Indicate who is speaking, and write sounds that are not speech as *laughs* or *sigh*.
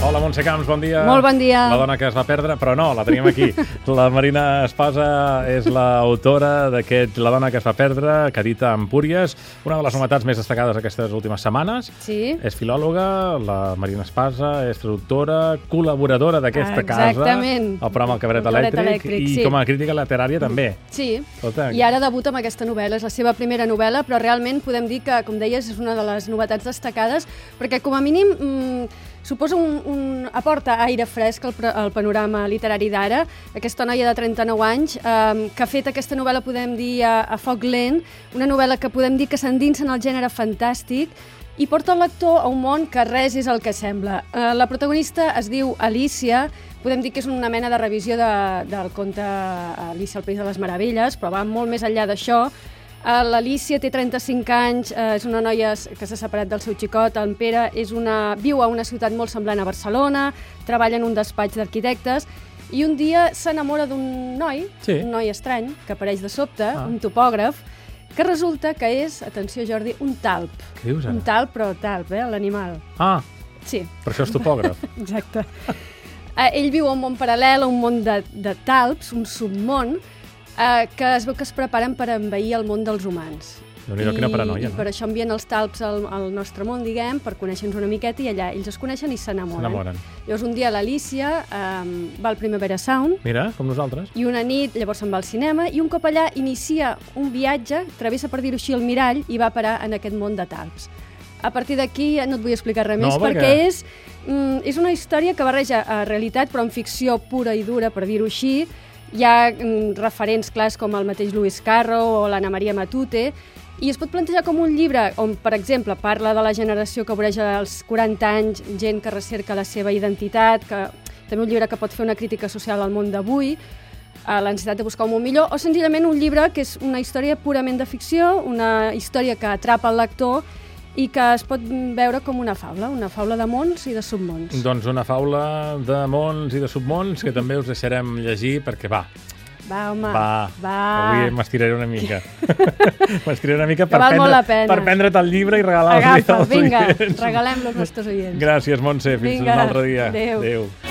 Speaker 1: Hola, Montse Camps, bon dia.
Speaker 2: Molt bon dia.
Speaker 1: La dona que es va perdre, però no, la tenim
Speaker 2: *laughs*
Speaker 1: aquí. La Marina Espasa és l'autora d'aquest La dona que es va perdre, que edita Empúries. Una de les novetats més destacades aquestes últimes setmanes.
Speaker 2: Sí.
Speaker 1: És filòloga, la Marina Espasa és traductora, col·laboradora d'aquesta casa.
Speaker 2: Exactament.
Speaker 1: El programa El Cabaret
Speaker 2: El Cabaret
Speaker 1: Elèctric.
Speaker 2: Elèctric,
Speaker 1: I
Speaker 2: sí.
Speaker 1: com a crítica literària també.
Speaker 2: Sí,
Speaker 1: Escolta,
Speaker 2: i ara debuta amb aquesta novel·la, és la seva primera novel·la, però realment podem dir que, com deies, és una de les novetats destacades, perquè com a mínim mm, suposa un, un, aporta aire fresc al, pre- al panorama literari d'ara. Aquesta noia de 39 anys, eh, que ha fet aquesta novel·la, podem dir, a, a foc lent, una novel·la que podem dir que s'endinsa en el gènere fantàstic, i porta el lector a un món que res és el que sembla. Eh, La protagonista es diu Alicia, podem dir que és una mena de revisió de, del conte Alicia al País de les Meravelles, però va molt més enllà d'això. Eh, L'Alicia té 35 anys, eh, és una noia s- que s'ha separat del seu xicot, en Pere, és una, viu a una ciutat molt semblant a Barcelona, treballa en un despatx d'arquitectes, i un dia s'enamora d'un noi,
Speaker 1: Sí.
Speaker 2: un noi estrany, que apareix de sobte,
Speaker 1: Ah.
Speaker 2: ah. un topògraf, que resulta que és, atenció Jordi, un talp.
Speaker 1: Què dius
Speaker 2: Un
Speaker 1: ara?
Speaker 2: talp, però talp, eh? L'animal.
Speaker 1: Ah,
Speaker 2: Sí,
Speaker 1: però això és topògraf. *laughs*
Speaker 2: exacte. Eh, ell viu a un món paral·lel, a un món de, de talps, un submón, eh, que es veu que es preparen per envair el món dels humans.
Speaker 1: Déu-n'hi-do, quina paranoia,
Speaker 2: I
Speaker 1: no?
Speaker 2: per això envien els talps al, al nostre món, diguem, per conèixer-nos una miqueta, i allà ells es coneixen i s'enamoren.
Speaker 1: S'enamoren.
Speaker 2: Llavors un dia l'Alicia eh, va al Primavera Sound,
Speaker 1: Mira, com nosaltres.
Speaker 2: i una nit llavors se'n va al cinema i un cop allà inicia un viatge, travessa per dir-ho així el mirall i va parar en aquest món de talps. A partir d'aquí ja no et vull explicar res
Speaker 1: No,
Speaker 2: més
Speaker 1: perquè-
Speaker 2: perquè, és, mm, és una història que barreja eh, realitat però en ficció pura i dura, per dir-ho així. Hi ha mm, referents clars com el mateix Lewis Carro o l'Anna Maria Matute i es pot plantejar com un llibre on, per exemple, parla de la generació que voreja els 40 anys, gent que recerca la seva identitat, que també un llibre que pot fer una crítica social al món d'avui, a la necessitat de buscar un món millor, o senzillament un llibre que és una història purament de ficció, una història que atrapa el lector i que es pot veure com una faula, una faula de mons i de submons.
Speaker 1: Doncs una faula de mons i de submons que també us deixarem llegir perquè va,
Speaker 2: Va, home,
Speaker 1: Doncs va,
Speaker 2: va.
Speaker 1: avui m'estiraré una
Speaker 2: *laughs*
Speaker 1: mica. m'estiraré una mica
Speaker 2: Que
Speaker 1: per
Speaker 2: val molt la
Speaker 1: prendre,
Speaker 2: pena.
Speaker 1: per prendre't el llibre i regalar-li
Speaker 2: Agafa,
Speaker 1: als
Speaker 2: vinga,
Speaker 1: oients.
Speaker 2: regalem-lo als nostres oients.
Speaker 1: Gràcies, Montse. Fins
Speaker 2: Vinga,
Speaker 1: un altre dia.
Speaker 2: adéu.
Speaker 1: Adéu.